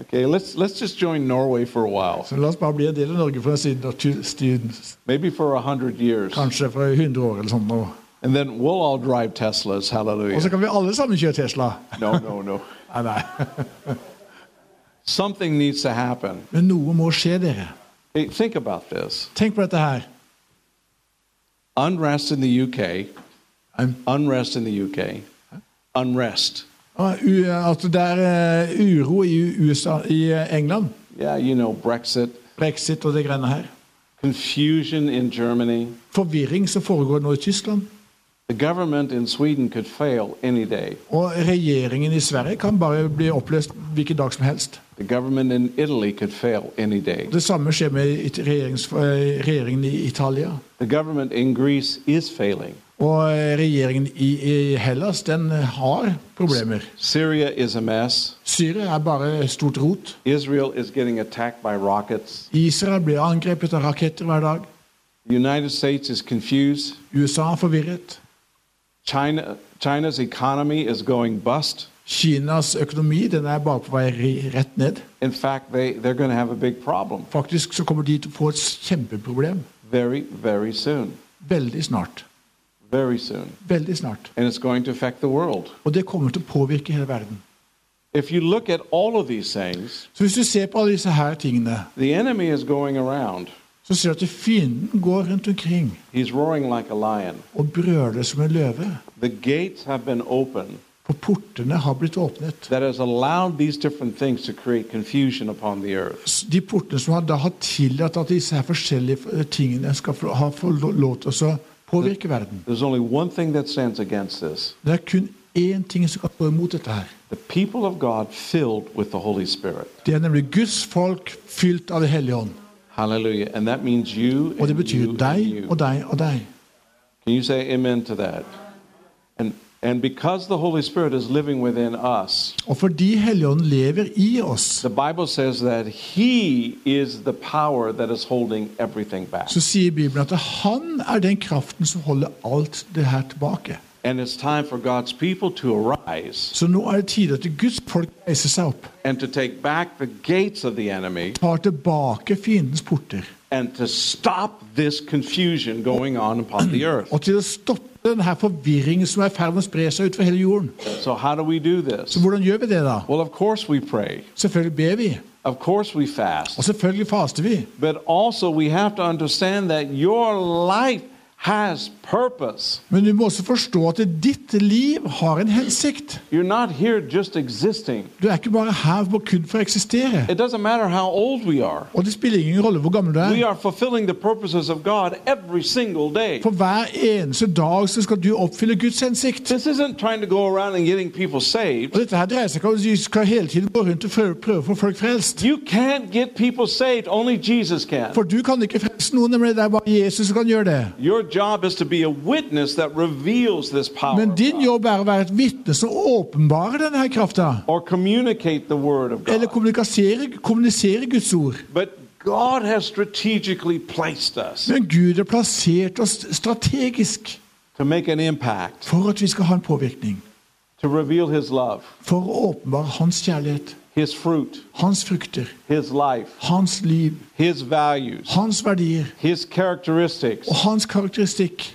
Okay, let's, let's just join Norway for a while, Så la oss bare bli en del av Norge for en siden av tu- siden- maybe for a 100 years. kanskje for 100 år eller sånn. nå. And then we'll all drive Teslas. Og så Hallelujah. kan vi alle sammen kjøre Tesla. No, no, no. Nei, nei. Something needs to happen. Men noe må skje, dere. Hey, think about this Tenk på dette her. unrest in the UK, Um, unrest in the UK, unrest. ah, u- At det er eh, uro i USA, i eh, England. Yeah, you know, Brexit, Brexit og det greiene her. confusion in Germany. Forvirring som foregår nå i Tyskland. The government in Sweden could fail any day. Og regjeringen i Sverige kan bare bli oppløst hvilken dag som helst. The government in Italy could fail any day. Det samme skjer med it- regjerings- eh, regjeringen i Italia. The government in Greece is failing. Og eh, regjeringen i, i Hellas, den eh, har problemer. Syria is a mess. Syria er bare stort rot. Israel is getting attacked by rockets. Israel blir angrepet av raketter hver dag. The United States is confused. USA er forvirret. China, China's economy is going bust. Kinas økonomi den er bare på vei ri- rett ned. In fact, they, they're going to have a big problem Faktisk så kommer de til å få et kjempeproblem very, very soon. veldig snart. Very soon. Veldig snart. And it's going to affect the world. Og det kommer til å påvirke hele verden. If you look at all of these things, Så hvis du ser på alle disse her tingene, the enemy is going around. så ser du at fienden går rundt omkring He's roaring like a lion. og brøler som en løve. The gates have been open For portene har blitt åpnet. that has allowed these different things to create confusion upon the earth. S- De portene som har da har tillatt at disse her forskjellige eh, tingene skal få, ha få lo- lov til å påvirke verden. There's only one thing that stands against this Det er kun én ting som kan stå imot dette her. the people of God filled with the Holy Spirit. Det er nemlig Guds folk fylt av Det hellige ånd. Hallelujah. And that means you Og det and betyr you and deg you. og deg og deg. Can you say amen to that? And and because the Holy Spirit is living within us, Og fordi Helligånden lever i oss, the Bible says that He is the power that is holding everything back. så sier Bibelen at han er den kraften som holder alt det her tilbake. And it's time for God's people to arise Så nå er det tid at Guds folk reiser seg opp, and to take back the gates of the enemy tar tilbake fiendens porter, and to stop this confusion going on upon the earth. og til å stoppe denne her forvirringen som er i ferd med å spre seg utover hele jorden. So how do we do this? Så hvordan gjør vi det, da? Well, of course we pray. Selvfølgelig ber vi, Of course we og fast. selvfølgelig faster vi. But also we have to understand that your life has purpose. Men du må også forstå at ditt liv har en hensikt. You're not here just existing. Du er ikke bare her for- kun for å eksistere. It doesn't matter how old we are. Og det spiller ingen rolle hvor gammel du We er. are fulfilling the purposes of God every single day. For hver eneste dag så skal du oppfylle Guds hensikt. This isn't trying to go around and getting people Og saved. dette her dreier seg ikke om at du skal hele tiden gå rundt og prøve, prøve å få folk frelst. You can't get people saved, only Jesus can. For du kan ikke frelse noen, nemlig det er bare Jesus som kan gjøre det. Your job is to be a witness that reveals this power Men of din God, jobb er å være et vitne som åpenbarer denne her krafta. or communicate the word of God. Eller kommunisere, kommunisere Guds ord. But God has strategically placed us Men Gud har plassert oss strategisk to make an impact, for at vi skal ha en påvirkning. to reveal his love, For å åpenbare hans kjærlighet, his fruit, hans frukter, his life, hans liv, his values, hans verdier his characteristics. og hans karakteristikk.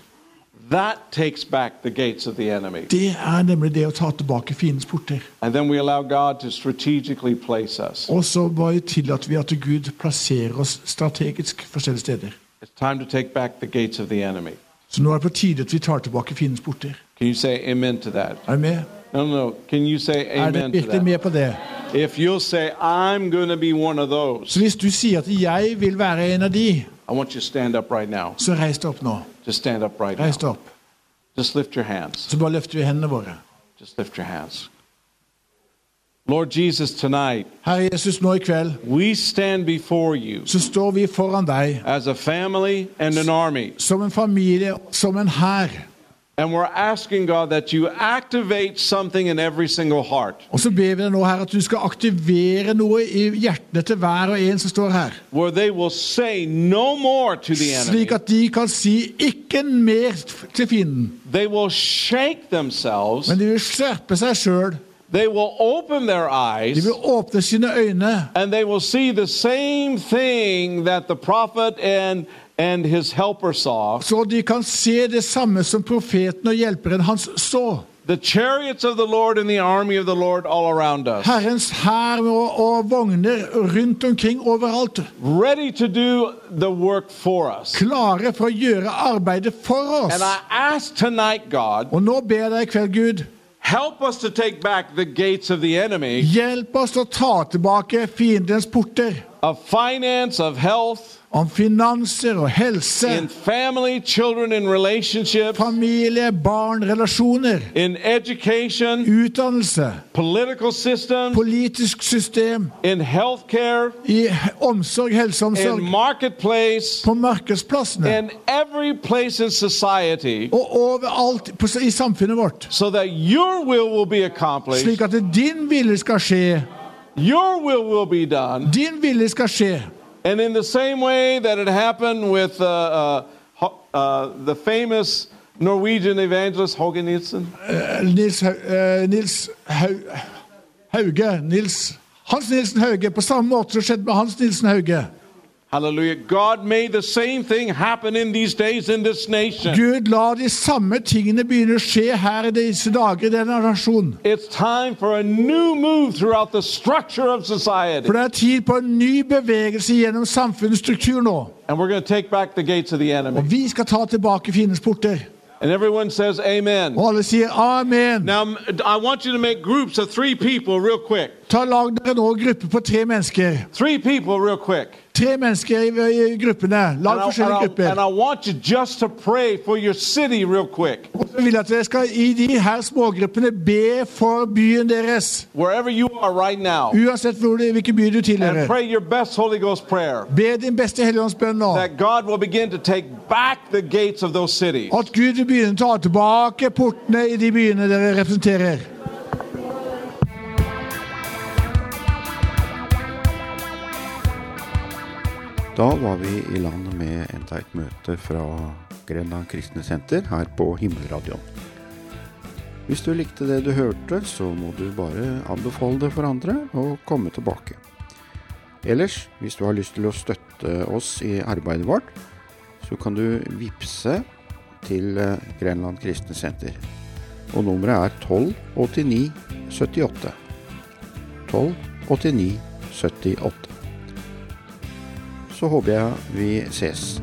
That takes back the gates of the enemy. Det er nemlig det å ta tilbake fiendens porter. And then we allow God to strategically place us. Og så bare tillater vi at Gud plasserer oss strategisk forskjellige steder. It's time to take back the gates of the enemy. Så nå er det på tide at vi tar tilbake fiendens porter. Can you say amen to that? Er du med? No, no, no. Can you say Er du amen to virkelig that? med på det? If you'll say, I'm going to be one of those, Så hvis du sier at 'jeg vil være en av de', I want you to stand up right now. så reis deg opp nå. Just stand up right Reis deg now. opp. Just lift your hands. Så bare løfter vi hendene våre. Just lift your hands. Lord Jesus, tonight, Herre Jesus, nå i kveld we stand before you så står vi foran deg as a family and an army. som en familie, som en hær. And we're asking God that you activate something in every single heart. Og så ber vi deg nå, Herre, at du skal aktivere noe i hjertene til hver og en som står her. where they will say no more to the enemy. Slik at de kan si 'ikke mer til fienden', They will shake themselves. men de vil skjerpe seg sjøl. They will open their De eyes vil åpne sine øyne, and they will see the same thing that the prophet and and his helper saw. så de kan se det samme som profeten og hjelperen hans så. The chariots of the Lord and the army of the Lord all around us, Herrens hær og, og vogner rundt omkring overalt, ready to do the work for us. klare for å gjøre arbeidet for oss. And I ask tonight, God, Og nå ber jeg deg i kveld, Gud, help us to take back the gates of the enemy hjelp oss til å ta tilbake fiendens porter. of finance, of health, Om finanser og helse, in family, children, and relationships. familie, barn, relasjoner, in education, utdannelse, political systems, politisk system, in healthcare, i he- omsorg, in helseomsorg, marketplace, på markedsplassene in every place in society, og overalt på, i samfunnet vårt. so that your will will be Slik accomplished, at din vilje skal skje, your will will be done. din vilje skal skje. And in the same way that it happened with uh, uh, Ho- uh, the famous Norwegian evangelist Hågen Nielsen, Eh, Nils, Hau- eh, Nils Hau, Hauge Nils, Hans Nilsen Hauge, på samme måte som skjedde med Hans Nilsen Hauge. hallelujah, God made the same thing happen in these days in this nation. Gud, la de samme tingene begynne å skje her i disse dager i denne nasjonen. It's time for a new move throughout the structure of society. For det er tid på en ny bevegelse gjennom samfunnets struktur nå. And we're going to take back the gates of the enemy. Og vi skal ta tilbake fiendens porter. And everyone says amen. Og alle sier amen. Now, m- I want you to make groups of three people real quick. Ta Lag dere nå gruppe på tre mennesker. Three people real quick. Tre mennesker i, i gruppene. And Lag I, and, forskjellige I, and grupper. I want you just to pray for your city real quick. Og så vil jeg at dere skal i de her smågruppene be for byen deres. Wherever you are right now. Uansett hvor det, hvilken by du And tilhører. pray your best Holy Ghost prayer. Be din beste helligåndsbønn nå. That God will begin to take back the gates of those cities. At Gud vil begynne å ta tilbake portene i de byene dere representerer. Da var vi i land med enda et møte fra Grenland Kristne Senter her på Himmelradioen. Hvis du likte det du hørte, så må du bare anbefale det for andre og komme tilbake. Ellers, hvis du har lyst til å støtte oss i arbeidet vårt, så kan du vippse til eh, Grenland Kristne Senter. Og nummeret er 1289 78. 1289 78 så håper jeg vi ses.